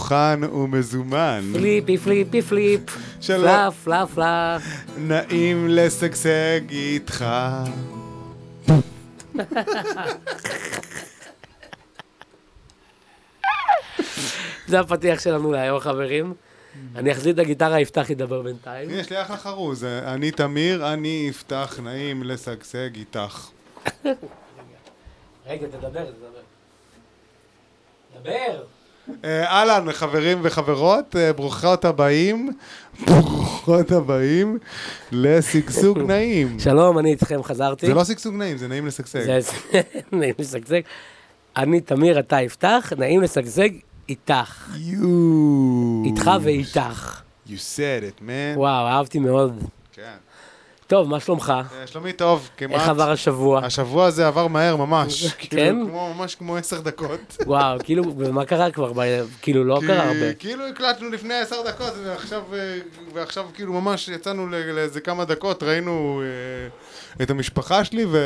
מוכן ומזומן. פליפי פליפי פליפ, שלום. פלאף פלאף פלאף. נעים לשגשג איתך. זה הפתיח שלנו להיום, חברים. אני אחזיר את הגיטרה, יפתח ידבר בינתיים. יש לי אחלה חרוז, אני תמיר, אני אפתח, נעים לשגשג איתך. רגע, תדבר, תדבר. דבר! אה, אהלן, חברים וחברות, אה, ברוכות הבאים, ברוכות הבאים לשגשוג נעים. שלום, אני איתכם, חזרתי. זה לא שגשוג נעים, זה נעים לשגשג. זה- נעים לשגשג. אני תמיר, אתה יפתח, נעים לשגשג איתך. יואו. איתך ואיתך. You said it, man. וואו, אהבתי מאוד. כן. טוב, מה שלומך? אה, שלומי טוב, כמעט. איך עבר השבוע? השבוע הזה עבר מהר ממש. כן? כאילו, כמו- ממש כמו עשר דקות. וואו, כאילו, ומה קרה כבר? ב- כאילו, לא כי- קרה הרבה. כאילו הקלטנו לפני עשר דקות, ועכשיו, אה, ועכשיו כאילו ממש יצאנו לא- לאיזה כמה דקות, ראינו אה, את המשפחה שלי, ו...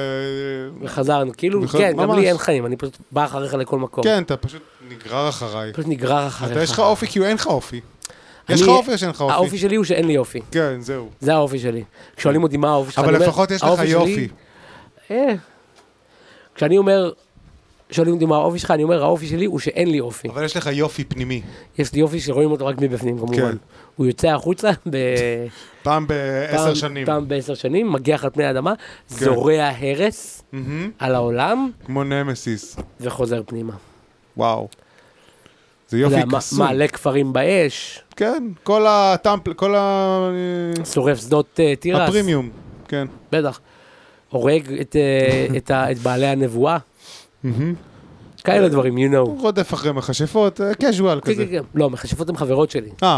וחזרנו, כאילו, בכלל, כן, גם ממש. לי אין חיים, אני פשוט בא אחריך לכל מקום. כן, אתה פשוט נגרר אחריי. פשוט נגרר אחריך. אתה יש לך אופי כאילו אין לך אופי. אני- יש לך אופי או שאין לך האופי אופי? שלי הוא שאין לי אופי. כן, זהו. זה האופי שלי. כששואלים אותי מה האופי שלך, כן. אבל אני אומר, לפחות יש לך "האופי שלי-" יופי. אה. כשאני אומר, שואלים אותי מה האופי שלך, אני אומר, האופי שלי הוא שאין לי אופי. אבל יש לך יופי פנימי. יש לי יופי שרואים אותו רק מבפנים, כמובן. כן. הוא יוצא החוצה ב... פעם בעשר פעם- שנים. כן. פעם בעשר שנים, מגיח על פני האדמה, זורע הרס מהמם. על העולם, כמו נמסיס. וחוזר פנימה. וואו. זה אתה יופי יודע, מ- קסום. מעלה כפרים באש, כן, כל הטמפל, כל ה... שורף שדות אה, תירס. הפרימיום. כן. בטח. הורג את, אה, את, ה- את בעלי הנבואה, מהמם. כאלה דברים, you know. הוא רודף אחרי מכשפות, אה, casual כן, כזה. כן, כן. לא, מכשפות הן חברות שלי. אה,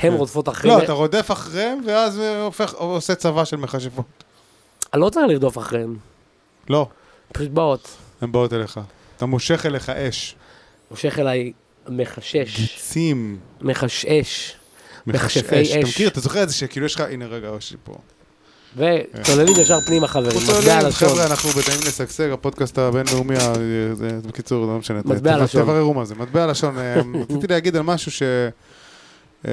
הן כן. רודפות אחרי... לא, אתה רודף אחריהם, ואז אה, הופך, עושה צבא של מכשפות. אני לא צריך לרדוף אחריהן, לא, פשוט באות. הן באות אליך. אתה מושך אליך אש. מושך אליי מחשש, גיצים. מחשאש, מכשפי מכשפי אש. אתה אש. מכיר, אתה זוכר את זה שכאילו יש לך, הנה רגע, יש לי פה. וצוללים ישר פנימה חברים, חוץ מטבע עולים, לשון. כן. חבר'ה, אנחנו בטעים לשגשג, הפודקאסט הבינלאומי, ה- זה- בקיצור, לא משנה. מטבע ת- לשון. תבררו מה זה, מטבע לשון. אה, רציתי להגיד על משהו ש... אה,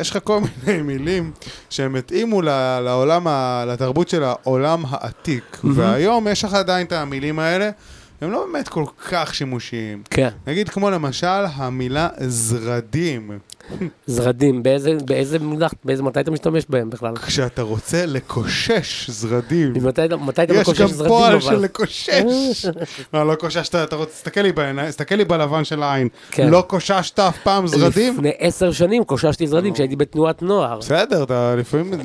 יש לך כל מיני מילים שהם התאימו ל- לעולם, ה- לתרבות של העולם העתיק. והיום יש לך עדיין את המילים האלה, הם לא באמת כל כך שימושיים. כן, נגיד כמו למשל המילה זרדים. זרדים, באיזה- באיזה מונח, באיזה מתי אתה משתמש בהם בכלל? כשאתה רוצה לקושש זרדים. ממתי אתה- מתי אתה יש מקושש גם זרדים פועל של אבל? לקושש. לא, לא קוששת, אתה רוצה, תסתכל לי בעיניים, תסתכל לי בלבן של העין. כן. לא קוששת אף פעם זרדים? לפני עשר שנים קוששתי זרדים כשהייתי בתנועת נוער. בסדר, אתה לפעמים,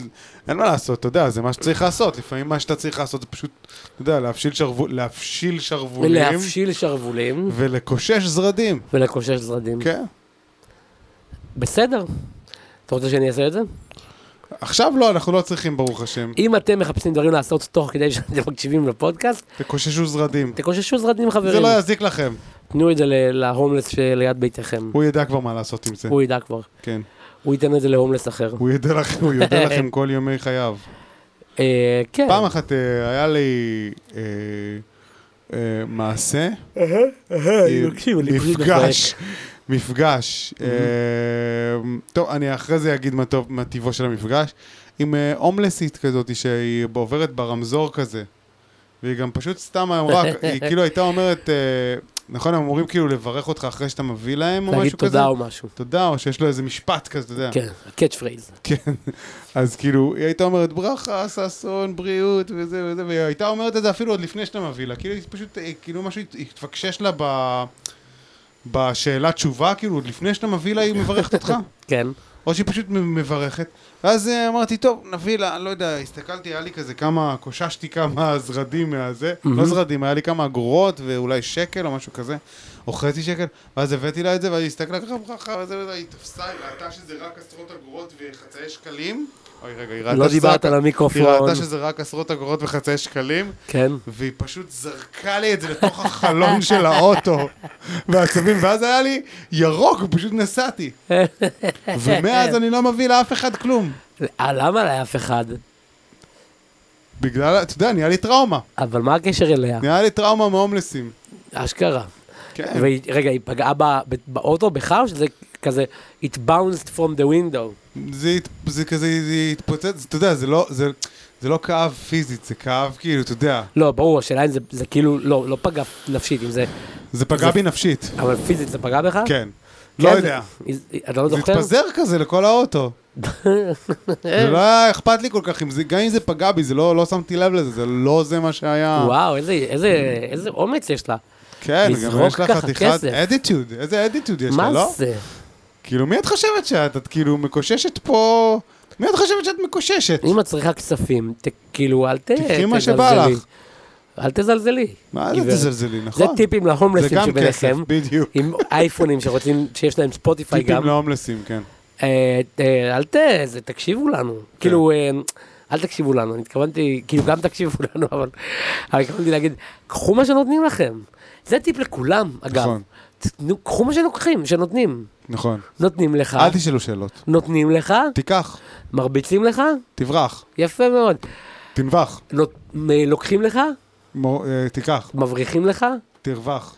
אין מה לעשות, אתה יודע, זה מה שצריך לעשות. לפעמים מה שאתה צריך לעשות זה פשוט, אתה יודע, להפשיל שרוו- להפשיל שרוולים להפשיל שרוולים ולקושש זרדים. ולקושש זרדים. כן. בסדר. אתה רוצה שאני אעשה את זה? עכשיו לא, אנחנו לא צריכים, ברוך השם. אם אתם מחפשים דברים לעשות תוך כדי שאתם מקשיבים לפודקאסט, תקוששו זרדים. תקוששו זרדים זה חברים. לא יזיק לכם. תנו את זה ל- להומלס שליד ביתכם. הוא ידע כבר מה לעשות עם זה. הוא ידע כבר. כן. הוא ייתן את זה להומלס אחר. הוא ידע לכם, הוא יודע לכם כל ימי חייו. אה, כן. פעם אחת אה, היה לי אה, אה, מעשה, אה, מקשיב, אני פשוט מפגש, מפגש. אה, טוב, אני אחרי זה אגיד מה טוב- מה טיבו של המפגש, עם אה, הומלסית כזאת שהיא עוברת ברמזור כזה. והיא גם פשוט סתם אמרה, היא כאילו הייתה אומרת, אה, נכון, הם אמורים כאילו לברך אותך אחרי שאתה מביא להם או להגיד משהו כזה? אה. תודה או משהו. תודה, או שיש לו איזה משפט כזה, אתה יודע. כן, קאץ' פרייז. אז כאילו, היא הייתה אומרת ברכה, ששון, בריאות וזה וזה, והיא הייתה אומרת את זה אפילו עוד לפני שאתה מביא לה. כאילו, היא פשוט, אה, כאילו משהו הת- התפקשש לה ב... בשאלה תשובה, כאילו, עוד לפני שאתה מביא לה, היא מברכת אותך. כן. או שהיא פשוט מ- מברכת. ואז אה, אמרתי, טוב, נביא לה, אני לא יודע, הסתכלתי, היה לי כזה כמה, קוששתי כמה זרדים מהזה, לא זרדים, היה לי כמה אגורות ואולי שקל או משהו כזה, או חצי שקל, ואז הבאתי לה את זה, ואז היא הסתכלה ככה, ברכה, וזה, וזה, היא תפסה, היא ראתה שזה רק עשרות אגורות וחצאי שקלים. אוי, רגע, היא ראתה שזה לא רק- דיברת על היא המיקרופון. ראתה שזה רק עשרות אגורות וחצאי שקלים, כן. והיא פשוט זרקה לי את זה לתוך החלון של האוטו, והעצבים, ואז היה לי ירוק, פשוט נסעתי. ומאז אני לא מביא לאף אחד כלום. אה, למה לאף אחד? בגלל, אתה יודע, נהיה לי טראומה. אבל מה הקשר אליה? נהיה לי טראומה מהומלסים. אשכרה. כן. והיא- רגע, היא פגעה ב- ב- באוטו בך או שזה כזה, it bounced from the window. זה, הת- זה כזה, זה התפוצץ, אתה יודע, זה לא, זה, זה לא כאב פיזית, זה כאב כאילו, אתה יודע, לא, ברור, השאלה אם זה, זה כאילו, לא, לא פגע נפשית, אם זה, זה פגע זה- בי נפשית, אבל פיזית זה פגע בך? כן. לא זה- יודע. אתה לא זה זוכר? התפזר כזה לכל האוטו. זה לא היה אכפת לי כל כך, אם זה- גם אם זה פגע בי, זה לא לא שמתי לב לזה, זה לא זה מה שהיה. וואו, איזה, איזה, איזה אומץ יש לה. כן, גם לזרוק יש לך ככה חתיכת כסף. אדיטיוד, איזה אדיטיוד יש מה לה, לא? זה? כאילו, מי את חושבת שאת? את כאילו מקוששת פה... מי את חושבת שאת מקוששת? אם את צריכה כספים, ת, כאילו, אל ת, תקחי מה תזלזלי. שבא לך. אל תזלזלי. מה זה גברת. תזלזלי, זה נכון? טיפים זה להומלסים גם כסף, שביניכם, בדיוק. עם אייפונים שרוצים, שיש להם ספוטיפיי טיפים גם. להומלסים, כן. אה, אה, אל ת... זה, תקשיבו לנו. כאילו, אה, אל תקשיבו לנו, אני התכוונתי, כאילו גם תקשיבו לנו, אבל אבל התכוונתי להגיד, קחו מה שנותנים לכם. זה טיפ לכולם, אגב. נכון. תנו- קחו מה שלוקחים, שנותנים. נכון. נותנים לך, אל תשאלו שאלות. נותנים לך, תיקח, מרביצים לך, תברח, יפה מאוד. תנבח, נות- מ- לוקחים לך, מו- אה, תיקח, מבריחים לך, תרווח.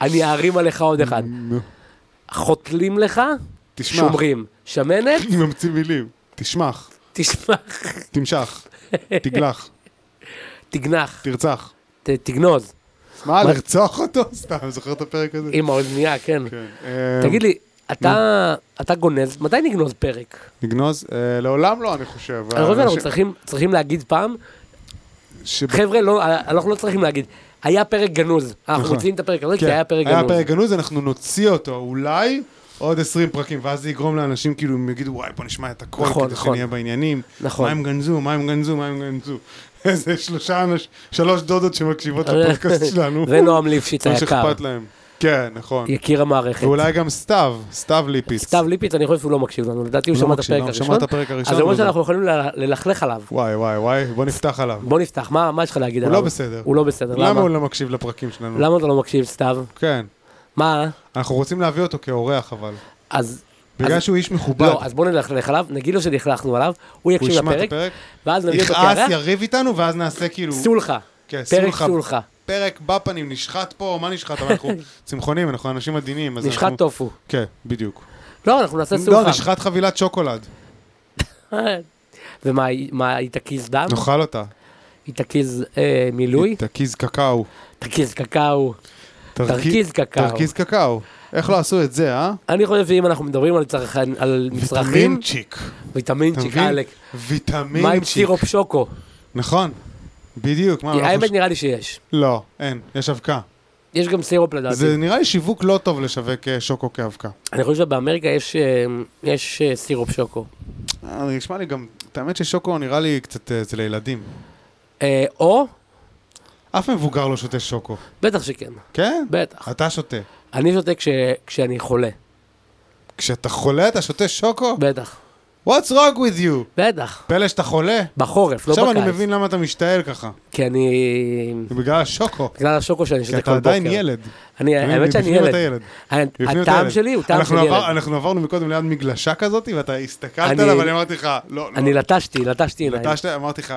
אני אערים עליך עוד אחד. נו, חותלים לך, תשמע. שומרים. שמנת, ממציא מילים. תשמח, תשמח, תמשך, תגלח, תגנח, תרצח. ת- תגנוז. מה, מה- לרצוח אותו? סתם, זוכר את הפרק הזה? עם האוזנייה, כן. כן. אה, תגיד לי, אתה, אתה גונז, מתי נגנוז פרק? נגנוז? אה, לעולם לא, אני חושב. אני חושב שאנחנו ש- צריכים, צריכים להגיד פעם, שב- חבר'ה, לא, אנחנו לא צריכים להגיד, היה פרק גנוז, אנחנו נכון. מוציאים את הפרק הזה, כן, כי היה פרק היה גנוז. פרק גנוז, אנחנו נוציא אותו אולי עוד 20 פרקים, ואז זה יגרום לאנשים כאילו, הם יגידו, וואי, בוא נשמע את הכל, נכון, כדי נכון. שנהיה בעניינים. נכון. מה הם גנזו, מה הם גנזו, מה הם גנזו. איזה שלושה אנשים, שלוש דודות שמקשיבות לפודקאסט שלנו. ונועם ליפשיץ מה היקר, שאכפת להם. כן, נכון. יקיר המערכת. ואולי גם סתיו, סתיו ליפיץ. סתיו ליפיץ, אני חושב שהוא לא מקשיב לנו, לדעתי הוא לא שמע את מקשיב, הפרק הוא שמע הראשון. את הפרק הראשון, לא אז זה אומר הוא- שאנחנו יכולים ל- ללכלך עליו. וואי, וואי, וואי, בוא נפתח עליו. בוא נפתח, מה מה יש לך להגיד הוא עליו? לא בסדר. הוא לא בסדר, למה למה? הוא לא מקשיב לפרקים שלנו? למה אתה לא מקשיב, סתיו? כן. מה? אנחנו רוצים להביא אותו כאורח, אבל. אז... בגלל אז- שהוא איש מכובד. לא, אז בוא נלכלך עליו, נגיד לו שנכלכנו עליו, הוא הוא יקשיב ישמע את לפרק, הפרק, ואז נביא אותו יכעס, כערך, יריב איתנו, ואז נעשה כאילו... סולחה. כן, פרק סולחה. סולחה. פרק בפנים, נשחט פה, מה נשחט? אבל אנחנו צמחונים, אנחנו אנשים עדינים, אז אנחנו... נשחט טופו. כן, בדיוק. לא, אנחנו נעשה לא, סולחה. אה, נשחט חבילת שוקולד. ומה, מה, היא תקיז דם? נאכל אותה. היא תקיז אה, מילוי? תרכיז קקאו. תקיז קקאו. תרכי- תרכיז קקאו. תרכיז קקאו. איך לא עשו את זה, אה? אני חושב שאם אנחנו מדברים על צרכן, על מצרכים, ויטמינצ'יק. אתה ויטמינצ'יק, מבין? עלק. מה עם ויטמינצ'יק. סירופ שוקו? נכון. בדיוק, מה, אנחנו האמת ש- נראה לי שיש. לא, אין, יש אבקה. יש גם סירופ לדעתי. זה נראה לי שיווק לא טוב לשווק אה, שוקו כאבקה. אני חושב שבאמריקה יש, אה, יש אה, סירופ שוקו. אה, זה נשמע לי גם, את האמת ששוקו נראה לי קצת, אה, זה לילדים. אה, או, אף מבוגר לא שותה שוקו. בטח שכן, כן? בטח. אתה שותה. אני שותה כש, כשאני חולה, כשאתה חולה אתה שותה שוקו? בטח. What's wrong with you? בטח. פלא שאתה חולה? בחורף, לא בקיץ. עכשיו אני מבין למה אתה משתעל ככה. כי אני... זה בגלל השוקו. בגלל השוקו שאני כי שותה כל אתה בוקר. עדיין ילד. אני, אתה מבין? האמת שאני מבפנים ילד. אתה ילד. אני- בפנים אתה הטעם ילד. שלי הוא טעם של אנחנו עבר- ילד. אנחנו עברנו מקודם ליד מגלשה כזאת, ואתה הסתכלת אני- עליו, ואני אמרתי לך, לא, לא. אני לטשתי, לטשתי עיניים. אתה שת- אמרתי לך,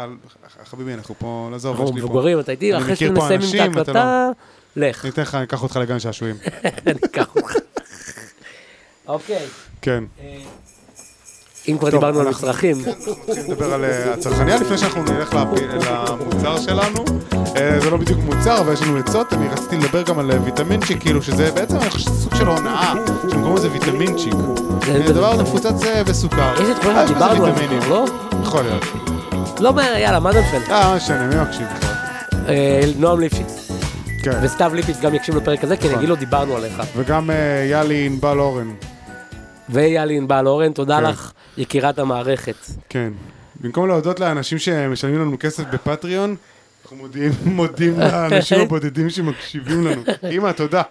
חביבי, אנחנו פה, לעזוב, אנחנו יש לי פה. מבוגרים, אתה איתי, נכון, אני אחרי מכיר פה שנסיים אנשים, עם את אתה לא- ההקלטה, לך. אני אתן לך, אני אקח אותך לגן שעשועים. אני אקח אותך. אוקיי. כן. אה, אם כבר טוב, דיברנו על אנחנו- מצרכים, נדבר על אה, הצרכניה לפני שאנחנו נלך לפ- למוצר שלנו. אה, זה לא בדיוק מוצר, אבל יש לנו עצות. אני רציתי לדבר גם על אה, ויטמינצ'יק, כאילו שזה בעצם אני חושב שזה סוג של הונאה, שהם קוראים לזה ויטמינצ'יק. זה- הדבר הזה מפוצץ אה, בסוכר. יש את כל אה, מה יש בזה שדיברנו על ויטמינים. זה, לא? יכול להיות. לא, מה- יאללה, מה זה משנה? אה, מה משנה, מי מקשיב לך? אה, נועם ליפשיץ. כן. וסתיו ליפיץ גם יקשיב לפרק הזה, כי נכון. אני אגיד לו דיברנו עליך. וגם אה, יאלי ענבל אורן. ויאלי ענבל אורן, תודה כן. לך, יקירת המערכת. כן. במקום להודות לאנשים שמשלמים לנו כסף בפטריון, אנחנו מודיעים, מודים לאנשים הבודדים שמקשיבים לנו. אמא, תודה.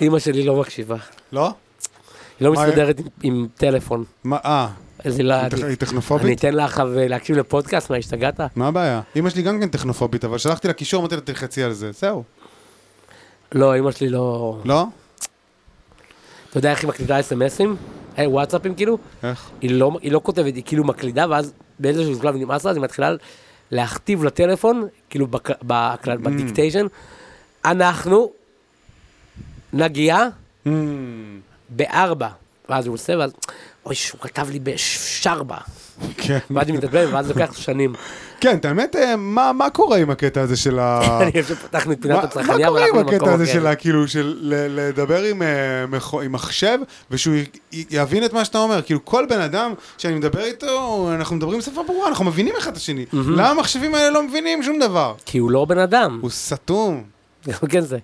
אימא שלי לא מקשיבה. לא? היא לא מה, מסתדרת עם- עם טלפון. מה, אה, אז היא לא... היא טכ- אני- היא אני טכנופובית? אתן לך אבל להקשיב לפודקאסט, מה, השתגעת? מה הבעיה? אמא שלי גם כן טכנופובית, אבל שלחתי לה קישור, אמרתי לה תלחצי על זה, זהו. לא, אימא שלי לא... לא? אתה יודע איך היא מקלידה אס.אם.אסים? היי, וואטסאפים כאילו? איך? היא לא, היא לא כותבת, היא כאילו מקלידה, ואז באיזשהו שלב נמאס לה, אז היא מתחילה להכתיב לטלפון, כאילו בק- בהקלט, Mm. בדיקטיישן, אנחנו נגיע אמ, בארבע. ואז הוא עושה, ואז, אוי, שהוא כתב לי בשרבה. כן. ואז אני מתעצבן, ואז לוקח שנים. כן, את האמת, אה, מה מה קורה עם הקטע הזה של ה... אני חושב שפתחנו את מה פינת מה הצרכניה, קורה עם הקטע הזה של אחר. ה- כאילו, של ל- לדבר עם, אה, מכו- עם מחשב, ושהוא י- י- יבין את מה שאתה אומר? כאילו, כל בן אדם שאני מדבר איתו, אנחנו מדברים שפה ברורה, אנחנו מבינים אחד את השני. למה המחשבים האלה לא מבינים שום דבר? כי הוא לא בן אדם. הוא סתום. גם כן זה.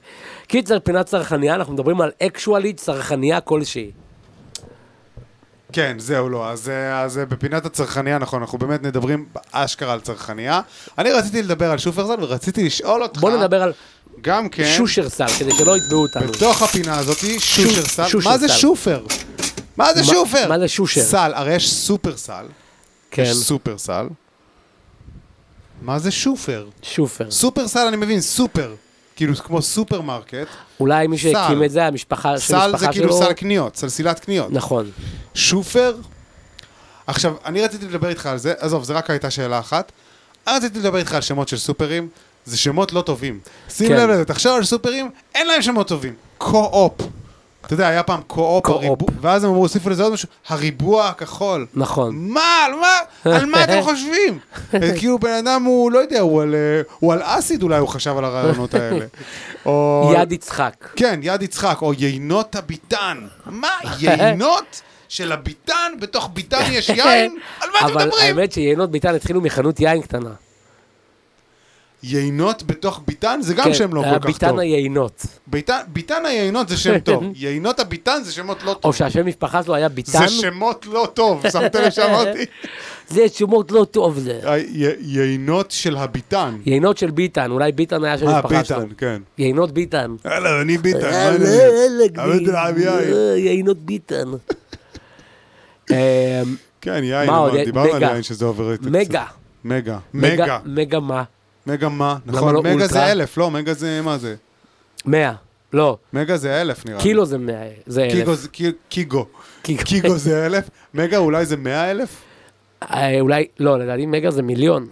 קיצר, פינת צרכניה, אנחנו מדברים על אקשואלי צרכניה כלשהי. כן, זהו, לא. אז, אה, אז אה, בפינת הצרכנייה, נכון, אנחנו באמת מדברים אשכרה על צרכנייה. אני רציתי לדבר על שופרסל ורציתי לשאול אותך, בוא נדבר על גם אה, כן, שושר סל, כדי שלא יתבעו אותנו. בתוך הפינה הזאתי, שושרסל, שושרסל. מה זה שופר? מה זה מה- שופר? מה זה שושר? סל, הרי יש סופרסל, כן, יש סופרסל. מה זה שופר? שופר. סופרסל, אני מבין, סופר. כאילו, כמו סופרמרקט. אולי מי שהקים סל. את זה, המשפחה של סל זה המשפחה כאילו שלו. סל קניות, סלסילת קניות. נכון. שופר? עכשיו, אני רציתי לדבר איתך על זה, עזוב, זו רק הייתה שאלה אחת. אני רציתי לדבר איתך על שמות של סופרים, זה שמות לא טובים. שים כן. לב לזה, תחשוב על סופרים, אין להם שמות טובים. קו-אופ. אתה יודע, היה פעם קו-אופ, קו-אופ. הריבוע- ואז הם אמרו, הוסיפו לזה עוד משהו, הריבוע הכחול. נכון. מה, על מה, על מה אתם חושבים? אה, כאילו בן אדם הוא, לא יודע, הוא על, אה, הוא על אסיד אולי הוא חשב על הרעיונות האלה. או... יד יצחק. כן, יד יצחק, או יינות הביטן. מה, יינות של הביטן? בתוך ביטן יש יין? על מה אתם כן. אבל מדברים? האמת שיינות ביטן התחילו מחנות יין קטנה. יינות בתוך ביטן זה גם כן, שם לא היה כל כך ביטן טוב. היינות. ביטן- ביטן היינות זה שם טוב. יינות הביטן זה שמות לא או טוב. שהשם משפחה שלו היה ביטן. זה שמות לא טוב, שמת לב שאמרתי? זה שמות לא טוב זה. ה- י- יינות של הביטן. יינות של ביטן, אולי ביטן היה של אה, משפחה שלו. ביטן, כן. יינות ביטן. הלו, אני ביטן, מה אה, אני... לא, לא, הבאתי לך יין. אה, יינות ביטן. אה, כן, יין, מה עוד? אמרנו, דיברנו על מגה. יין שזה עובר את... מגה. מגה. מגה. מגה מה? מגה מה? לא נכון, מגה אולטרה? זה אלף, לא, מגה זה מה זה? מאה. לא, מגה זה אלף נראה לי. קילו זה מאה. זה אלף. קיגו זה קי- קיגו. קיגו. קיגו זה אלף? מגה אולי זה מאה אלף? אה, אולי, לא, לדעתי מגה זה מיליון.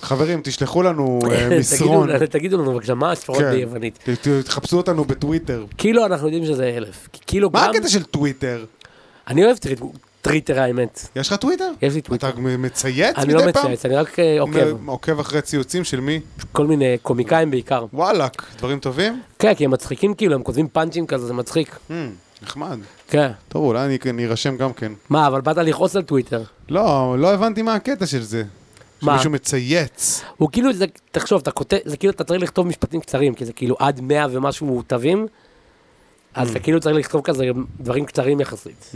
חברים, חברים, תשלחו לנו אה, תגידו- מסרון. תגידו לנו בבקשה, מה הספרות כן. ביוונית? ת- ת- תחפשו אותנו בטוויטר. קילו אנחנו יודעים שזה אלף. כי קילו מה גם... הקטע של טוויטר? אני אוהב טריט- טריטר האמת. יש לך טוויטר? יש לי טוויטר. אתה מ- מצייץ אני לא מדי פעם? מצייץ, אני רק אה, עוקב. מ- עוקב אחרי ציוצים של מי? כל מיני קומיקאים בעיקר. וואלאק, דברים טובים? כן, כי הם מצחיקים כאילו, הם כותבים פאנצ'ים כזה, זה מצחיק. Hmm, נחמד. כן. טוב, אולי אני- אני ארשם גם כן. מה, אבל באת לכעוס על טוויטר. לא, לא הבנתי מה הקטע של זה. מה? שמישהו מצייץ. הוא כאילו, זה, תחשוב, אתה כותב, זה כאילו, אתה צריך לכתוב משפטים קצרים, כי זה כאילו עד 100 ומשהו תווים, אז Mm. אתה כאילו צריך לכתוב כזה דברים קצרים יחסית.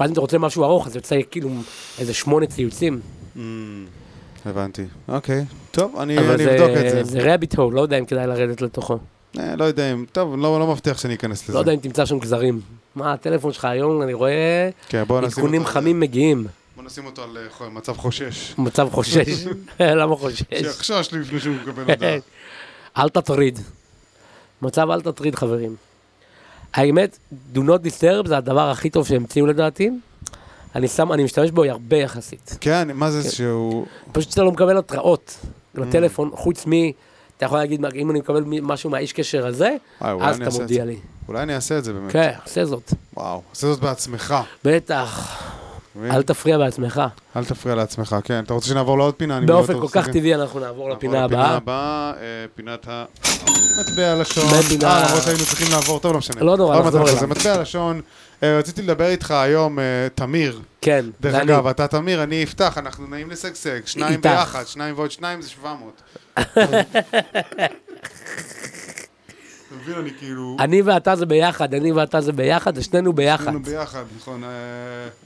ואז אם אתה רוצה משהו ארוך, אז יוצא כאילו איזה שמונה ציוצים. Mm. הבנתי. אוקיי. טוב, אני אבל אני אבדוק את זה. זה רביט הול, לא יודע אם כדאי לרדת לתוכו. אה, לא יודע אם... טוב, לא לא מבטיח שאני אכנס לזה. לא יודע אם תמצא שם גזרים. מה, הטלפון שלך היום, אני רואה כן, בואו נשים עדכונים אותו- חמים מגיעים. בוא נשים אותו על אה, חו- מצב חושש. מצב חושש. למה חושש? שיחשש לי לפני שהוא מקבל אה, הודעה. אל תטריד. מצב אל תטריד, חברים. האמת, do not disturb זה הדבר הכי טוב שהמציאו לדעתי. אני שם, אני משתמש בו הרבה יחסית. כן, מה זה שהוא... פשוט אתה לא מקבל התראות Mm. לטלפון, חוץ מ... אתה יכול להגיד, אם אני מקבל מ- משהו מהאיש קשר הזה, אה, אולי אז אני אתה אעשה את מודיע זה. לי. אולי אני אעשה את זה באמת. כן, עושה זאת. וואו, עושה זאת בעצמך. בטח, מבין? אל תפריע בעצמך. אל תפריע לעצמך, כן. אתה רוצה שנעבור לעוד פינה? אני באופן מאוד כל רוצה, כך כן. טבעי אנחנו נעבור נעבור לפינה הבאה. הבאה, אה, פינת ה... מטבע לשון. מטבע. אה, למרות שהיינו צריכים לעבור, טוב, לא משנה. לא נורא, עוד מעט נחזור נעשה את אליו. זה. מטבע לשון, אה, רציתי לדבר איתך היום, אה, תמיר. כן, דרך ואני- אגב, אתה תמיר, אני אפתח, אנחנו נעים לשגשג. שניים איתך. ביחד, שניים ועוד שניים זה 700. אתה מבין, אני כאילו... אני ואתה זה ביחד, אני ואתה זה ביחד, זה שנינו ביחד. היינו ביחד, נכון. אה,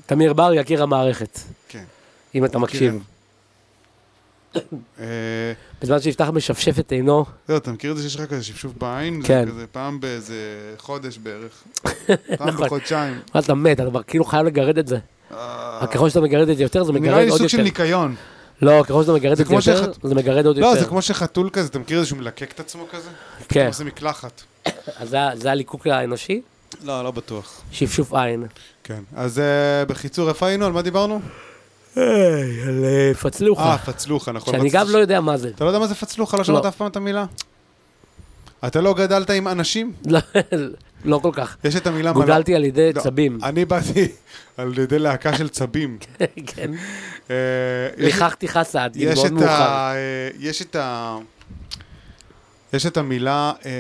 תמיר בר יקיר המערכת, כן. אם אתה מקשיב. אה, בזמן שיפתח משפשף את עינו, זהו, לא, אתה מכיר את זה שיש לך כזה שפשוף בעין? כן. זה כזה פעם באיזה חודש בערך. פעם נכון. בחודשיים. ואז אתה מת, אתה כבר כאילו חייב לגרד את זה. אה, רק ככל שאתה מגרד את זה יותר, זה נראה מגרד לי עוד סוג של יותר. ניקיון. לא, ככל שאתה מגרד זה את זה כמו יותר, שחת- זה מגרד עוד לא, זה יותר. כמו שחתול כזה, אתה מכיר את זה שהוא מלקק את עצמו כזה? כן, הוא עושה מקלחת. אז זה- זה הליקוק האנושי, לא, לא בטוח. שפשוף עין. כן. אז אה, בקיצור, איפה היינו? על מה דיברנו? היי, על אה, פצלוחה, אה, פצלוחה, נכון. שאני רציתי גם ש- לא יודע מה זה. אתה לא יודע מה זה פצלוחה? לא שמעת לא. אף פעם את המילה? אתה לא גדלת עם אנשים? לא, לא כל כך. יש את המילה... מלא- גודלתי על ידי לא, צבים. אני באתי על ידי להקה של צבים. כן. אה, יש- ליחכתי חסה עד גיל יש מאוד את מאוחר. ה... אה, יש את ה... יש את המילה אה,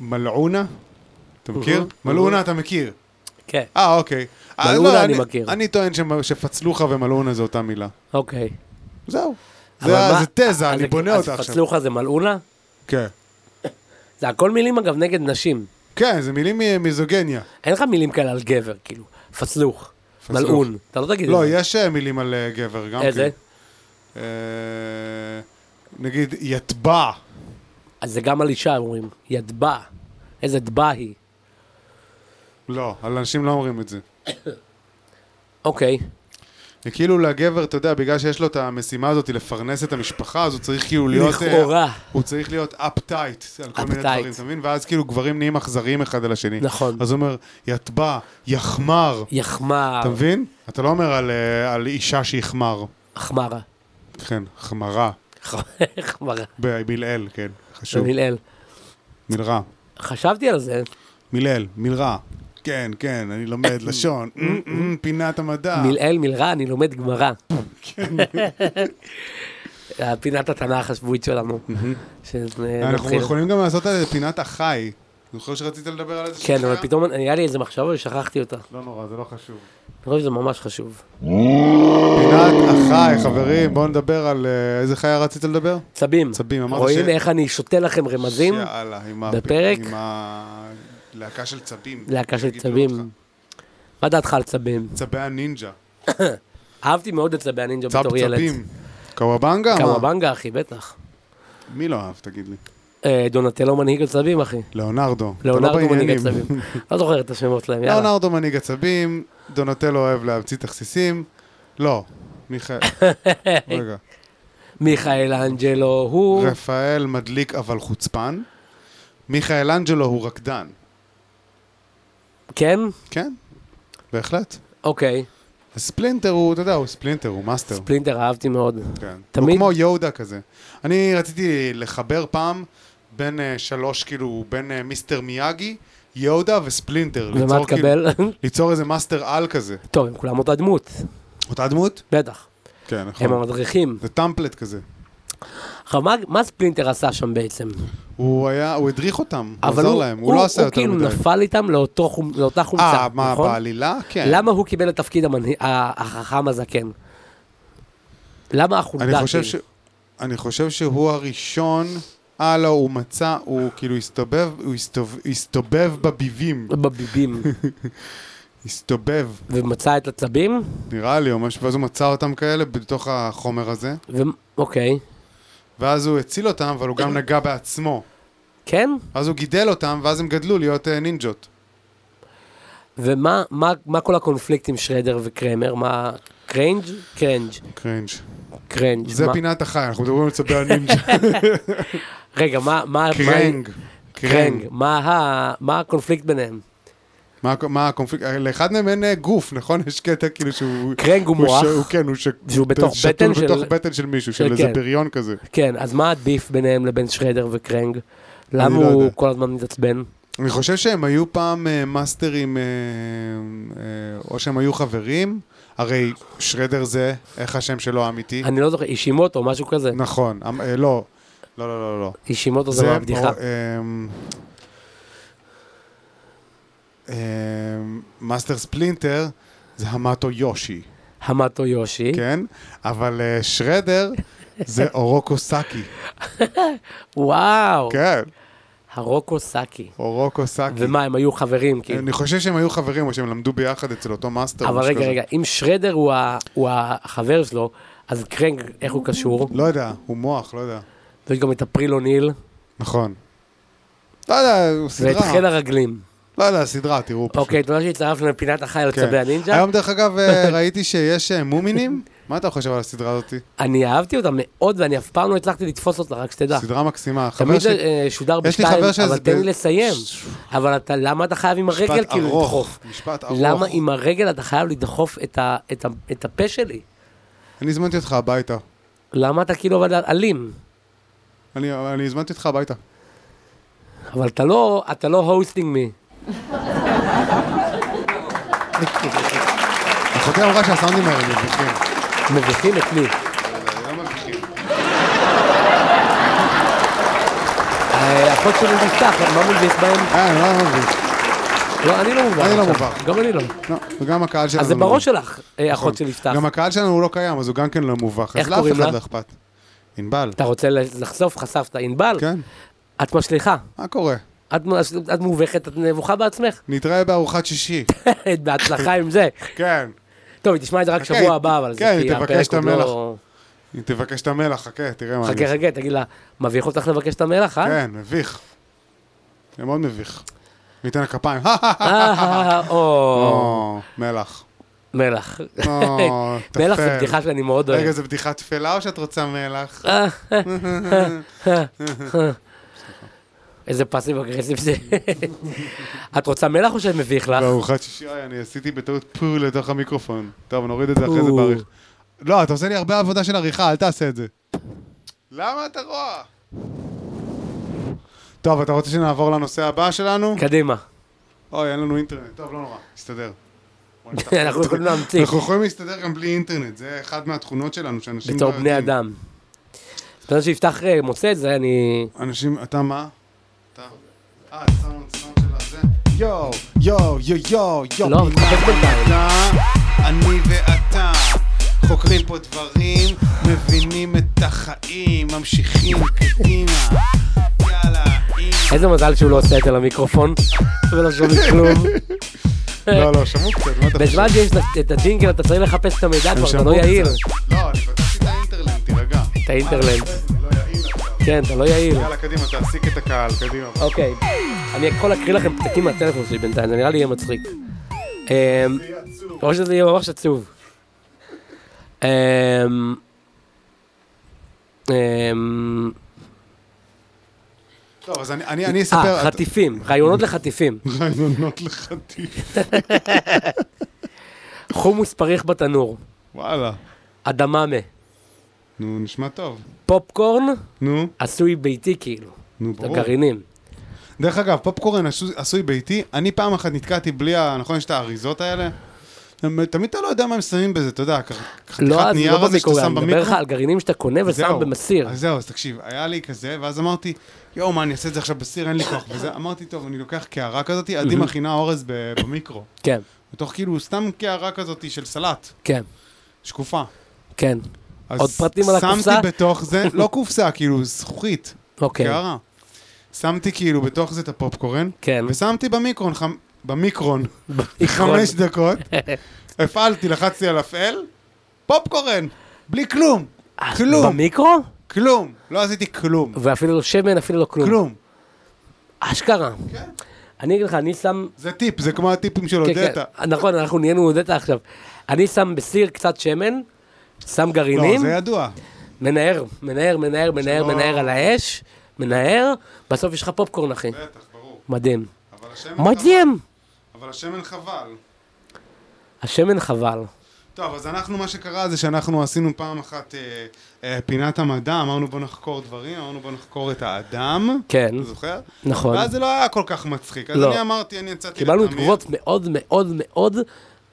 מלעונה, אתה מכיר? אהה, מלעונה אהה. אתה מכיר. כן, אה, אוקיי. אה, אוקיי. מלעונה לא, אני מכיר. אני טוען שמ- שפצלוחה ומלעונה זה אותה מילה. אוקיי. זהו. אבל זה ה- מה- אה, זה תזה, אז- אני בונה אותה אז עכשיו. פצלוחה זה מלאונה? כן. זה הכל מילים אגב נגד נשים. כן, זה מילים מ- מיזוגניה. אין לך מילים כאלה על גבר, כאילו. פצלוך, פצלוך. מלאון. אתה לא תגיד את לא, זה. יש אה, מילים על אה, גבר גם כן. איזה? אה, נגיד, יטבע. אז זה גם על אישה אומרים. ידבה. איזה דבה היא. לא, על אנשים לא אומרים את זה. אוקיי. כאילו לגבר, אתה יודע, בגלל שיש לו את המשימה הזאת לפרנס את המשפחה, אז הוא צריך כאילו להיות... אה, לכאורה. הוא צריך להיות אפטייט על כל מיני Uptight. דברים, אתה מבין? ואז כאילו גברים נהיים אכזריים אחד על השני. נכון. אז הוא אומר, יטבע, יחמר, יחמר, אתה מבין? אתה לא אומר על, אה, על אישה שהחמר. החמרה. כן, חמרה, החמרה. במילאל, כן, זה חשוב. מילאל. מילרע. חשבתי על זה. מילאל, מילרע. כן, כן, אני לומד לשון. אמ, אמ, פינת המדע. מילאל מילרע, אני לומד גמרא. כן. פינת התנ"ך השבועית שלנו. אה, אנחנו שנתחיל. יכולים גם לעשות על זה פינת החי. זוכר שרצית לדבר על איזה כן, שחיה? אבל פתאום היה לי איזה מחשבה ושכחתי אותה. אני לא נורא, זה לא חשוב. חושב שזה ממש חשוב. פינת החי, חברים, בואו נדבר על אה, איזה חיה רצית לדבר? צבים. צבים, אמרת רואים ש- איך אני שותה לכם רמזים? יאללה, עם ה- בפרק? עם הלהקה של צבים. להקה של יגידו אותך. צבים. מה דעתך על צבים? צבי הנינג'ה. אהבתי מאוד את צבי הנינג'ה צב לא בתור ילד. צבים. קוואבנגה? מה? קוואבנגה, אחי, בטח. מי לא אהב, תגיד לי? אה, דונטלו מנהיג הצבים, אחי. ליאונרדו. אתה לא לאונרדו מנהיג בעניינים. לא. הצבים. לא זוכר את השמות שלהם, יאללה. ליאונרדו מנהיג עצבים, דונטלו אוהב להמציא תכסיסים. לא, מיכאל... רגע. מיכאל אנג'לו הוא... רפאל מדליק אבל חוצפן. מיכאל אנג'לו הוא רקדן. כן? כן, בהחלט. אוקיי. ספלינטר הוא, אתה יודע, הוא ספלינטר, הוא מאסטר. פלינטר אהבתי מאוד. כן. תמיד- הוא כמו יודה כזה. אני רציתי לחבר פעם בין אה, שלוש, כאילו, בין אה, מיסטר מיאגי, יודה וספלינטר. ומה ליצור כאילו- תקבל? ליצור איזה מאסטר על כזה. טוב, הם כולם אותה דמות, אותה דמות? בטח. כן, הם נכון. המדריכים. זה טמפלט כזה. עכשיו, מה- מה ספלינטר עשה שם בעצם? הוא היה, הוא הדריך אותם, הוא אבל עזר להם, הוא לא עשה יותר הוא מדי. כאילו נפל איתם לאותו חומ- לאותה חומצה, אה, מה, נכון? בעלילה? כן. למה הוא קיבל את תפקיד המנהיג- ה- החכם הזקן? למה החולדה? אני חושב כאילו? ש... אני חושב שהוא הראשון, אה לא, הוא מצא, הוא כאילו הסתובב, הוא הסתובב, הסתובב בביבים, בביבים, הסתובב, ומצא את הצבים, נראה לי, או משהו, ואז הוא מצא אותם כאלה בתוך החומר הזה, ו- אוקיי, ואז הוא הציל אותם, אבל הוא גם נגע בעצמו. כן? אז הוא גידל אותם, ואז הם גדלו להיות אה, נינג'ות. ומה מה, מה כל הקונפליקט עם שרדר וקרמר? מה, קרנג'? קרנג', קרינג'. קרנג'. זה מה, פינת החי, אנחנו מדברים על צבי הנינג'ה. רגע, מה, מה, קרנג. מה, קרנג. מה, ה, מה הקונפליקט ביניהם? מה, מה הקונפליקט? לאחד מהם אין אה, גוף, נכון? יש קטע כאילו שהוא... קרנג הוא הוא מוח, ש- הוא כן, הוא ש- שהוא בתוך שתול בטן של- בתוך בטן של מישהו, של של- איזה כן. בריון כזה. כן, אז מה הביף ביניהם לבין שרדר וקרנג? למה לא הוא יודע. כל הזמן מתעצבן? אני חושב שהם היו פעם אה, מאסטרים, אה, אה, או שהם היו חברים. הרי שרדר זה, איך השם שלו האמיתי? אני לא זוכר, אישימוטו, משהו כזה. נכון, אמ- אה, לא. לא, לא, לא, לא. אישימוטו זה מהבדיחה. או, אמ, אמ, מאסטר ספלינטר זה המטו יושי. המטו יושי. כן, אבל אה, שרדר זה אורוקו סאקי, וואו, כן, הרוקו סאקי. אורוקו סאקי. אוקיי. ומה, הם היו חברים, כאילו. אני חושב שהם היו חברים או שהם למדו ביחד אצל אותו מאסטר. אבל משהו רגע, כזה. רגע, אם שרדר הוא ה- הוא החבר שלו, אז קרנג, איך הוא קשור? לא יודע, הוא מוח, לא יודע. ויש גם את הפריל אוניל, נכון. לא יודע, הוא ואת סדרה. חיל הרגלים. לא יודע, סדרה, תראו. פשוט. אוקיי, תודה שהצטרפנו לפינת החי על כן. צבי הנינג'ה. היום דרך אגב אה, ראיתי שיש אה, מומינים. מה אתה חושב על הסדרה הזאת? אני אהבתי אותה מאוד, ואני אף פעם לא הצלחתי לתפוס אותה, רק שתדע. סדרה מקסימה. חבר תמיד זה שלי, אה, שודר יש לי בשתיים, חבר שזה אבל תן לי ב- לסיים. ש- אבל אתה, למה אתה חייב עם הרגל משפט כאילו ארוך, לדחוף? משפט ארוך. למה עם הרגל אתה חייב לדחוף את ה- את ה- את הפה שלי? אני הזמנתי אותך הביתה. למה אתה כאילו אבל אלים? אני, אני הזמנתי אותך הביתה. אבל אתה לא, אתה לא הוסטינג מי. אחותי אמרה שהסאונדים האלה מביכים. מביכים את מי. אבל לא מביכים. אה, החוק שלי נפתח, מה מביך בהם? אה, אני לא מביך. לא, אני לא מובך. אני לא עכשיו. מובך. גם אני לא. לא, וגם הקהל שלנו אז זה לא בראש מביך. שלך, אה, אחות של יפתח. נכון. גם הקהל שלנו הוא לא קיים, אז הוא גם כן לא מובך. איך אז לאף קוראים אחד לה? לא אכפת. ענבל, אתה רוצה לחשוף, חשפת. ענבל, כן? את משליכה. מה קורה? את מ- את מובכת, את נבוכה בעצמך. נתראה בארוחת שישי. בהצלחה עם זה. כן. טוב, היא תשמע את זה רק אוקיי, שבוע הבא, אבל זה כן, כי היא תבקש הפרק את עוד המלח. לא... אם תבקש את המלח, חכה, תראה מה... אני חכה, עושה. חכה, תגיד לה, מביך אותך לבקש את המלח, אה? כן, מביך. זה מאוד מביך. ניתן לה כפיים. אה, או... או, מלח. מלח. או, מלח זה טפל. בדיחה אה. שאני מאוד אוהב. רגע, זו בדיחה תפלה או שאת רוצה מלח? איזה פאסיב אגרסיב זה. את רוצה מלח או שמביך לך? בארוחת שישי, אוי, אני עשיתי בטעות פו לתוך המיקרופון. טוב, נוריד את זה אחרי זה בעריך. לא, אתה עושה לי הרבה עבודה של עריכה, אל תעשה את זה. למה אתה רוע? טוב, אתה רוצה שנעבור לנושא הבא שלנו? קדימה. אוי, אין לנו אינטרנט. טוב, לא נורא, נסתדר. בוא נפתח. אנחנו יכולים להמציא, אנחנו יכולים להסתדר גם בלי אינטרנט, זה אחת מהתכונות שלנו, שאנשים... בתור לא בני יודעים. אדם. בגלל שיפתח אה, מוצא את זה, אני... אנשים, אתה מה? אתה? אה, סאונד, סאונד של הזה. יואו, יואו, יואו, יואו, יואו. לא, פינה תחפש בינתיים. מדע, אני ואתה חוקרים פה דברים, מבינים את החיים, ממשיכים קדימה. יאללה, אימא. איזה מזל שהוא לא עושה את זה למיקרופון, ולא שומעים כלום. לא, לא, שמעו קצת, מה אתה בזמן שיש את הג'ינגל אתה צריך לחפש את המידע כבר, אתה לא יעיל. לא, אני פתחתי את האינטרלנד, תירגע. את האינטרלנד. לא יעיל עכשיו. כן, אתה לא יעיל. יאללה, קדימה, תעסיק את הקהל, קדימה. אוקיי. אני יכול להקריא לכם פתקים מהטלפון שלי בינתיים, זה נראה לי יהיה מצחיק. אמ, זה יהיה עצוב. או שזה יהיה ממש עצוב. אמ, אמ, טוב, אז אני- אני אני אספר... אה, חטיפים, רעיונות לחטיפים. רעיונות לחטיף. חומוס פריך בתנור, וואלה. אדממה, נו, נשמע טוב. פופקורן נו, עשוי ביתי כאילו, נו, את ברור. הגרעינים. דרך אגב, פופקורן עשו- עשוי ביתי, אני פעם אחת נתקעתי בלי ה... נכון, יש את האריזות האלה? הם- תמיד אתה לא יודע מה הם שמים בזה, אתה יודע, כ- לא, חתיכת אז נייר לא הזה שאתה במיקרו, אני שם מדבר לך במיקרו. על גרעינים שאתה קונה ושם זהו. במסיר. אז זהו, אז תקשיב, היה לי כזה, ואז אמרתי, יואו, מה, אני אעשה את זה עכשיו בסיר, אין לי כוח. וזה, אמרתי, טוב, אני לוקח קערה כזאת, עדי מכינה אורז ב- במיקרו. כן, בתוך כאילו סתם קערה כזאת של סלט, כן, שקופה. כן. אז עוד פרטים על הקופסה? שמתי בתוך זה, לא קופסה, כאילו זכוכית, אוקיי, קערה. שמתי כאילו בתוך זה את הפופקורן, כן. ושמתי במיקרון, חמ... במיקרון, במיקרון. חמש דקות, הפעלתי, לחצתי על הפעל, פופקורן, בלי כלום, אה, כלום, במיקרו? כלום, לא עשיתי כלום, ואפילו לא שמן, אפילו לא כלום. כלום. אשכרה. כן. אני אגיד לך, אני שם... זה טיפ, זה כמו הטיפים של כן, אודטה. כן, נכון, אנחנו נהיינו אודטה עכשיו. אני שם בסיר קצת שמן, שם לא, גרעינים, זה ידוע. מנער, מנער, מנער, מנער, שלא- מנער על האש, מנער, בסוף יש לך פופקורן, אחי. בטח, ברור. מדהים. אבל השמן חבל. מדהים! אבל השמן חבל. השמן חבל. טוב, אז אנחנו, מה שקרה זה שאנחנו עשינו פעם אחת אה, אה, פינת המדע, אמרנו בוא נחקור דברים, אמרנו בוא נחקור את האדם. כן, אתה זוכר? נכון. ואז זה לא היה כל כך מצחיק. אז לא. אני אמרתי, אני יצאתי קיבלנו לתמיר. תגובות מאוד מאוד מאוד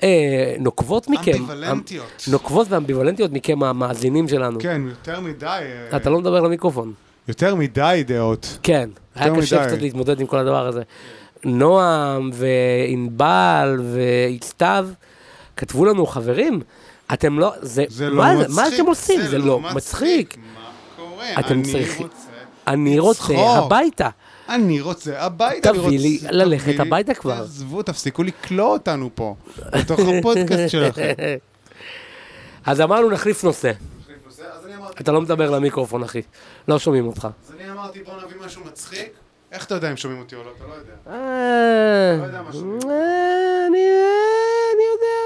אה, נוקבות מכם. אמביוולנטיות. אמ- נוקבות ואמביוולנטיות מכם, המאזינים שלנו. כן, יותר מדי... אה, אתה לא מדבר למיקרופון. יותר מדי דעות. כן, היה יותר קשה מדי. קצת להתמודד עם כל הדבר הזה. נועם וענבל וסתיו כתבו לנו, חברים, אתם לא, זה, זה מה, לא זה- מצחיק. מה אתם עושים? זה, לא מצחיק. מה קורה? אתם אני צריכים- רוצה... אני רוצה לצחוק. הביתה. אני רוצה הביתה. אני תביא רוצה- לי ללכת תביא לי- הביתה כבר. תעזבו, תפסיקו לקלוא אותנו פה, בתוך הפודקאסט שלכם. אז אמרנו נחליף נושא. אז אני אמרתי, אתה לא מדבר למיקרופון, אחי. לא שומעים אותך. אז אני אמרתי, בוא נביא משהו מצחיק. איך אתה יודע אם שומעים אותי או לא? אתה לא יודע. אה, לא יודע מה שומעים. אה, אני אה, אני יודע.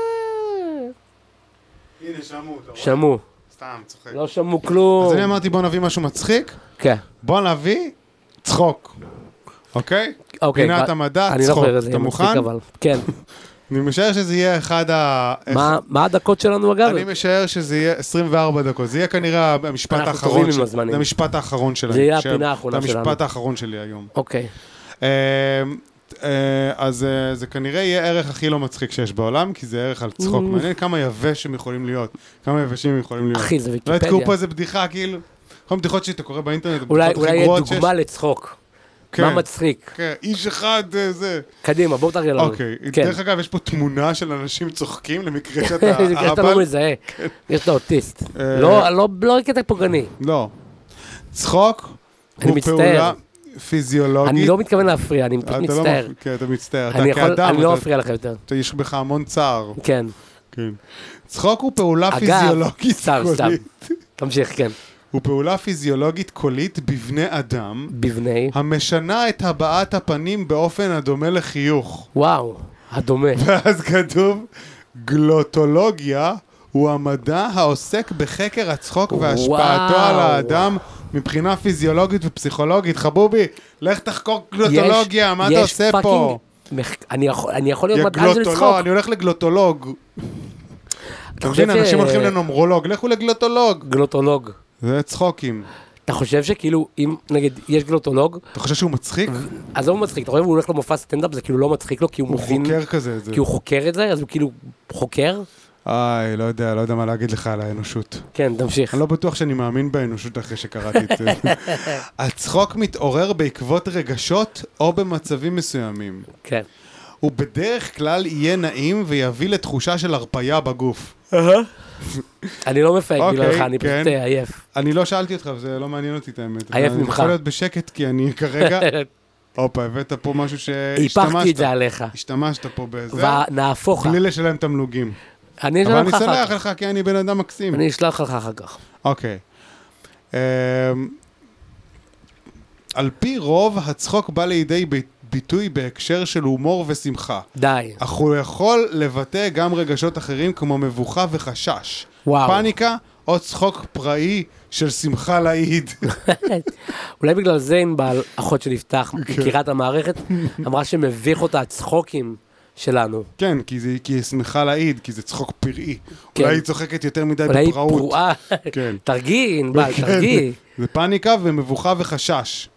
הנה, שמעו אותו. שמעו, סתם, צוחק. לא שמעו כלום. אז אני אמרתי, בוא נביא משהו מצחיק. כן. בוא נביא צחוק. אוקיי? אוקיי, פינת כבר- המדע, אני לא צחוק. זוכר את זה, אתה מצחיק מוכן? אבל. כן. אני משער שזה יהיה אחד ה... מה- מה הדקות שלנו אגב? אני משער שזה יהיה 24 דקות, זה יהיה כנראה המשפט אנחנו האחרון. טובים עם של- הזמנים. זה המשפט האחרון שלהם. זה יהיה של- הפינה האחרונה זה שלנו. המשפט האחרון שלי היום. אוקיי. אמ, אה, אז אה, זה כנראה יהיה הערך הכי לא מצחיק שיש בעולם, כי זה ערך על צחוק. מעניין כמה יבש הם יכולים להיות, כמה יבשים הם יכולים להיות. אחי, זה לא ויקיפדיה. יתקעו פה איזה בדיחה, כאילו. כל מיני בדיחות שאתה קורא באינטרנט, אולי הבדיחות אולי הכי יהיה גרועות שיש. דוגמה לצחוק. כן, מה מצחיק? כן, איש אחד אה, זה. קדימה, בואו תראה לנו. אוקיי, כן. דרך אגב, יש פה תמונה של אנשים צוחקים למקרה שאתה בגלל שאתה לא אהבל. מזהה, יש לו אוטיסט. כן. אה, לא, לא, לא קטע פוגעני. לא. צחוק אני הוא מצטער. פעולה פיזיולוגית. אני לא מתכוון להפריע, אני אתה לא מצטער. מפ- כן, אתה מצטער. אני אתה יכול, כאדם, אני לא אתה- אפריע לך יותר. אתה- יש בך המון צער. כן. כן. צחוק הוא פעולה אגב, פיזיולוגית סתם, סתם. קולית. תמשיך, כן. הוא פעולה פיזיולוגית קולית בבני אדם, בבני. המשנה את הבעת הפנים באופן הדומה לחיוך. וואו, הדומה. ואז כתוב, גלוטולוגיה הוא המדע העוסק בחקר הצחוק והשפעתו וואו. על האדם מבחינה פיזיולוגית ופסיכולוגית. חבובי, לך תחקור גלוטולוגיה, יש- מה אתה יש עושה פאקינג פה? מח- אני יכול- אני יכול להיות יא מדען של צחוק. גלוטולוג, אני הולך לגלוטולוג. אתה חושב מבין, אנשים ש- הולכים לנומרולוג, לכו לגלוטולוג. גלוטולוג. זה צחוקים. אתה חושב שכאילו, אם נגיד יש גלוטולוג, אתה חושב שהוא מצחיק? אז הוא מצחיק, אתה חושב הוא הולך למופע סטנדאפ, זה כאילו לא מצחיק לו, כי הוא הוא מבין, חוקר כזה את זה. כי הוא חוקר את זה, אז הוא כאילו חוקר? איי, לא יודע, לא יודע מה להגיד לך על האנושות. כן, תמשיך. אני לא בטוח שאני מאמין באנושות אחרי שקראתי את זה. הצחוק מתעורר בעקבות רגשות או במצבים מסוימים. כן. הוא בדרך כלל יהיה נעים ויביא לתחושה של הרפייה בגוף. אני לא מפהק אוקיי, בגללך, אני כן. פשוט אה, עייף. אני לא שאלתי אותך, וזה לא מעניין אותי את האמת. עייף אני ממך. יכול להיות בשקט, כי אני כרגע... הופה, הבאת פה משהו היפכתי את שהשתמשת. זה עליך. השתמשת פה בזה, ונהפוך. בלי לשלם תמלוגים. אני לא- אבל אני אשלח לך אחר סולח כך. לך, כי אני בן אדם מקסים. אני אשלח לך אחר כך. אוקיי. אמ, על פי רוב, הצחוק בא לידי ב- ביטוי בהקשר של הומור ושמחה, די. אך הוא יכול לבטא גם רגשות אחרים כמו מבוכה וחשש, וואו. פאניקה או צחוק פראי של שמחה להיד. אולי בגלל זה ענבל, אחות של יפתח, אוקיי. מכירה את המערכת, אמרה שמביך אותה הצחוקים שלנו. כן, כי זה- כי היא שמחה להיד, כי זה צחוק פראי. כן. אולי היא צוחקת יותר מדי אולי היא בפראות. פרועה. כן. תרגיעי, ענבל, כן. תרגיעי. זה פאניקה ומבוכה וחשש.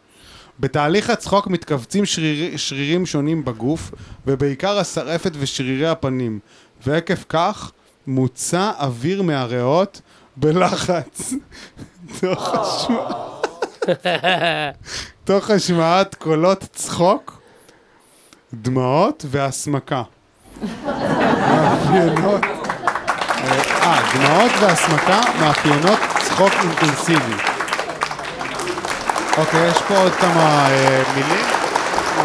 בתהליך הצחוק מתכווצים שריר, שרירים שונים בגוף, ובעיקר השרעפת ושרירי הפנים, ועקב כך מוצא אוויר מהריאות בלחץ. תוך, השמע... תוך השמעת קולות צחוק, דמעות והסמקה. מאפיינות... אה, דמעות והסמקה מאפיינות צחוק אינטנסיבי. אוקיי, יש פה עוד כמה אה, מילים,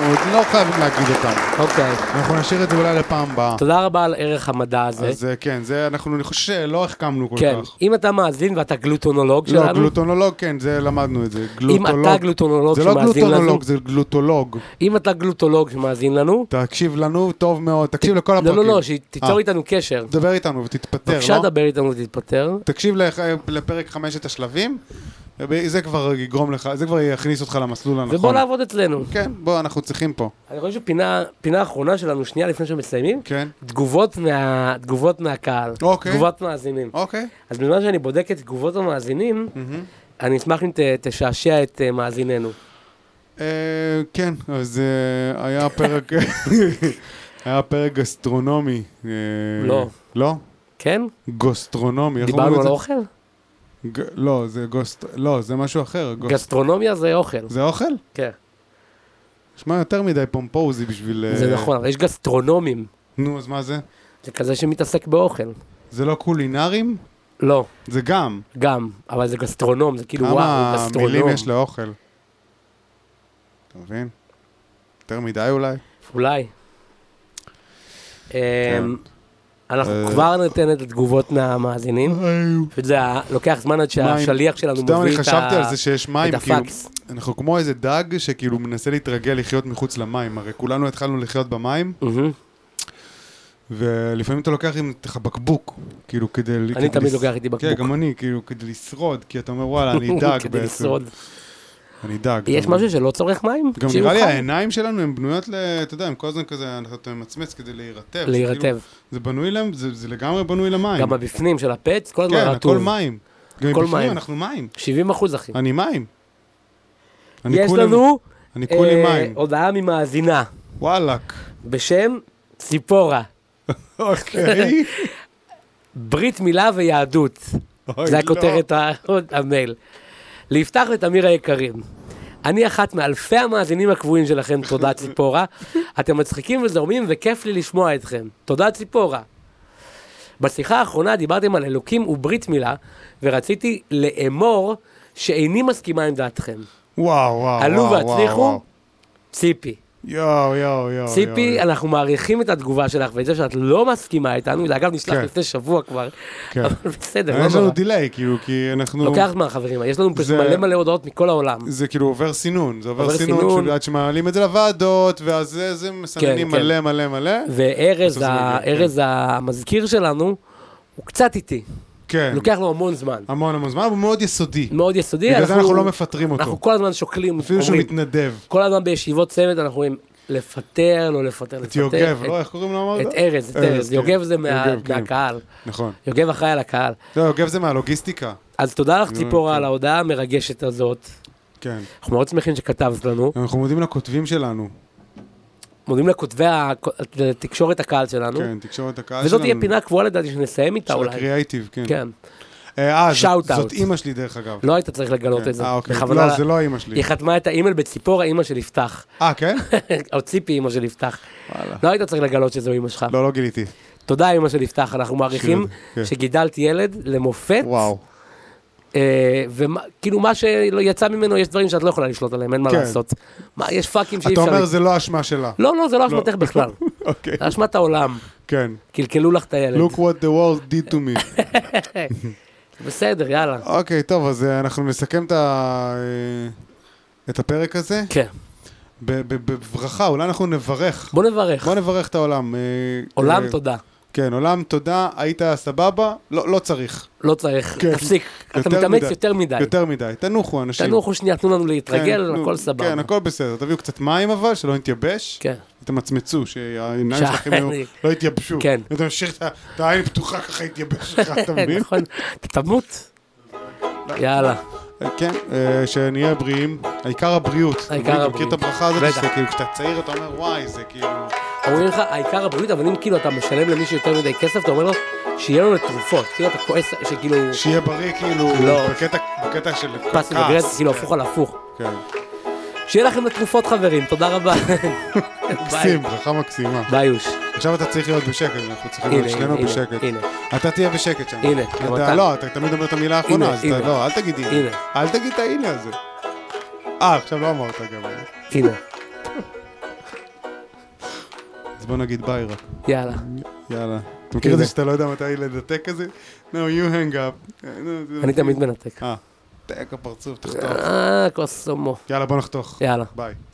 עוד לא חייבים להגיד אותן. אוקיי. אנחנו נשאיר את זה אולי לפעם הבאה. תודה רבה על ערך המדע הזה. אז אה, כן, זה אנחנו, אני חושב שלא החכמנו כל אוקיי. כן, כך. אם אתה מאזין ואתה גלוטונולוג לא, שלנו, גלוטונולוג, כן, זה למדנו את זה. אם גלוטולוג. אתה גלוטונולוג זה לא שמאזין לנו, גלוטונולוג, זה גלוטולוג. אם אתה גלוטולוג שמאזין לנו, תקשיב לנו טוב מאוד, תקשיב לכל לא, הפרקים. לא, לא, שתיצור אה. איתנו קשר. דבר איתנו ותתפטר, לא? בבקשה דבר איתנו ותתפטר. תקשיב לח- לפרק חמשת השלבים, זה כבר יגרום לך, זה כבר יכניס אותך למסלול הנכון. ובוא לעבוד אצלנו. כן, בוא, אנחנו צריכים פה. אני חושב שפינה פינה אחרונה שלנו, שנייה לפני שמסיימים, כן. תגובות מה- תגובות מהקהל, אוקיי. תגובות מאזינים. אוקיי. אז בזמן שאני בודק את תגובות המאזינים, אני אשמח אם ת- תשעשע את אה, מאזיננו. אה, כן, אז אה, היה פרק... היה פרק גסטרונומי. אה, לא. לא? כן? גוסטרונומי. איך אומרים דיברנו את על זה? אוכל? ג- לא, זה גוסט... לא, זה משהו אחר. גוס- גסטרונומיה זה אוכל. זה אוכל? כן, נשמע יותר מדי פומפוזי בשביל... אה, זה נכון, אבל יש גסטרונומים. נו, אז מה זה? זה כזה שמתעסק באוכל. זה לא קולינרים? לא, זה גם. גם, אבל זה גסטרונום, זה כאילו וואו, כמה גסטרונום. מילים יש לאוכל. אתה מבין? יותר מדי אולי? אולי. כן. אמ, אנחנו אה, כבר ניתן את התגובות מהמאזינים. פשוט זה ה- לוקח זמן עד שהשליח שלנו אתה מביא יודע את ה... מה, אני חשבתי על זה שיש מים, את כאילו, הפקס. אנחנו כמו איזה דג שכאילו מנסה להתרגל לחיות מחוץ למים, הרי כולנו התחלנו לחיות במים, מהמם. ולפעמים אתה לוקח עם איתך בקבוק, כאילו כדי... אני כדי תמיד לס- לוקח איתי בקבוק. כן, גם אני, כאילו, כדי לשרוד, כי אתה אומר, וואלה, אני דג כדי בעצם. לשרוד. אני אדאג. יש גם- משהו שלא צורך מים? גם שיהיו נראה לי חם. העיניים שלנו הן בנויות ל... אתה יודע, הם כל הזמן כזה, אתה ממצמץ כדי להירטב. זה להירטב. כאילו- זה בנוי להם, זה זה לגמרי בנוי למים. כאילו. גם הבפנים של הפץ, כל הזמן כן, רטוב. הכל מים. גם הכל מבפנים מים. אנחנו מים. 70 אחוז, אחי. אני מים. אני יש כולי- לנו אני כולי אה, מים. הודעה ממאזינה וואלאק. בשם ציפורה. אוקיי. ברית מילה ויהדות. אוי, זה לא. הכותרת ה- המייל. ליפתח ותמיר היקרים. אני אחת מאלפי המאזינים הקבועים שלכם, תודה ציפורה. אתם מצחיקים וזורמים וכיף לי לשמוע אתכם. תודה ציפורה. בשיחה האחרונה דיברתם על אלוקים וברית מילה, ורציתי לאמור שאיני מסכימה עם דעתכם. וואו, וואו, עלו וואו, והצליחו, וואו. ציפי. יואו, יואו, יואו. כן. ציפי, יואו. אנחנו מעריכים את התגובה שלך ואת זה שאת לא מסכימה איתנו, זה אגב נשלח כן. לפני שבוע כבר, כן. אבל בסדר, לא יש לנו נורא. דיליי, כאילו, כי אנחנו... לוקח זמן חברים, יש לנו פשוט זה- מלא מלא הודעות מכל העולם. זה כאילו עובר סינון, זה עובר עובר סינון, סינון. של- עד שמעלים את זה לוועדות, ואז זה- זה מסננים כן. מלא מלא מלא. וארז, בסוף זה ה- מגיע, ארז המזכיר שלנו, הוא קצת איטי, כן. לוקח לו המון זמן. המון המון זמן, אבל הוא מאוד יסודי. מאוד יסודי, בגלל זה אנחנו לא מפטרים אנחנו אותו. כל הזמן שוקלים, אפילו שהוא אומרים, מתנדב. כל הזמן בישיבות צוות אנחנו אומרים, לפטר, לא לפטר, את לפטר. יוגב, את- לא? איך קוראים לו אמרת? את ארז, את ארז, ארז, כן. יוגב זה מה- יוגב, כן. מהקהל, נכון. יוגב אחראי על הקהל. לא, יוגב זה מהלוגיסטיקה. אז תודה לך נו, ציפורה כן. על ההודעה המרגשת הזאת. כן. אנחנו מאוד שמחים שכתבת לנו. אנחנו מודים לכותבים שלנו. מודים לכותבי התקשורת הקהל שלנו. כן, תקשורת הקהל שלנו. וזאת תהיה פינה קבועה לדעתי שנסיים איתה של אולי. הקריאייטיב, כן. כן. אה, זאת- Shout out. זאת אימא שלי דרך אגב. לא היית צריך לגלות כן. את זה. אה, אוקיי. בכוונה- לא, זה לא אימא שלי. היא חתמה את האימייל בציפורה אימא של יפתח. אה, כן? או ציפי אימא של יפתח. וואלה. לא היית צריך לגלות שזו אימא שלך. לא, לא גיליתי. תודה אימא של יפתח, אנחנו מעריכים כן. שגידלת ילד למופת. וואו. וכאילו מה שיצא ממנו, יש דברים שאת לא יכולה לשלוט עליהם, אין מה כן. לעשות. מה, יש פאקים שאי אתה אפשר... אומר לה- זה לא אשמה שלה. לא, לא, זה לא אשמתך בכלל. אוקיי. זה אשמת העולם. כן. קלקלו לך את הילד. Look what the world did to me. בסדר, יאללה. אוקיי, טוב, אז אה, אנחנו נסכם את ה- אה, את הפרק הזה כן. ב- ב- בברכה, אולי אנחנו נברך. בוא נברך. בוא נברך את העולם. אה, עולם אה, תודה. כן, עולם תודה, היית סבבה, לא לא צריך. לא צריך. כן. תפסיק. אתה יותר מתאמץ מדי. יותר מדי. יותר מדי. תנוחו, אנשים. תנוחו שנייה, תנו לנו כן, להתרגל, נו, הכל סבבה. כן, הכל בסדר. תביאו קצת מים אבל, שלא נתייבש. כן. תמצמצו, שהעיניים שה- שלכם יהיו- אני- לא יתייבשו. כן. ותמשיך את ה- את העין פתוחה ככה יתייבש לך, אתה מבין? נכון. אתה תמות. יאללה. כן, אה, שנהיה בריאים. העיקר הבריאות. אתה מבין? אתה מכיר את הבריאות. הברכה הזאת? בטח. שכאילו כשאתה צעיר אתה אומר וואי, זה כאילו... אומרים לך, העיקר הבריאות, אבל אם כאילו אתה משלם למישהו יותר מדי כסף, אתה אומר לו, שיהיה לו לתרופות. כאילו אתה כועס, שכאילו... שיהיה בריא כאילו, לא. בקטע- בקטע של פס כעס. וגרס, כאילו הפוך על הפוך. כן, שיהיה לכם לתרופות חברים, תודה רבה. ביי. מקסים, ברכה מקסימה. ביי. עכשיו אתה צריך להיות בשקט, אנחנו צריכים הנה, להיות שנינו הנה, בשקט. הנה. אתה תהיה בשקט שם. הנה, אתה- גם אתה. לא, אתה תמיד אומר את המילה האחרונה, הנה, אז הנה. אתה לא, אל תגיד הנה. הנה. אל תגיד את הנה הזה. אה, עכשיו לא אמרת גם. הנה. אז בוא נגיד ביי רק. יאללה. יאללה. אתה מכיר את זה הנה. שאתה לא יודע מתי לדתק כזה? No, you hang up. אני תמיד מנתק. אה, תק הפרצוף, תחתוך. אה, כוס הומו. יאללה, בוא נחתוך. יאללה. ביי.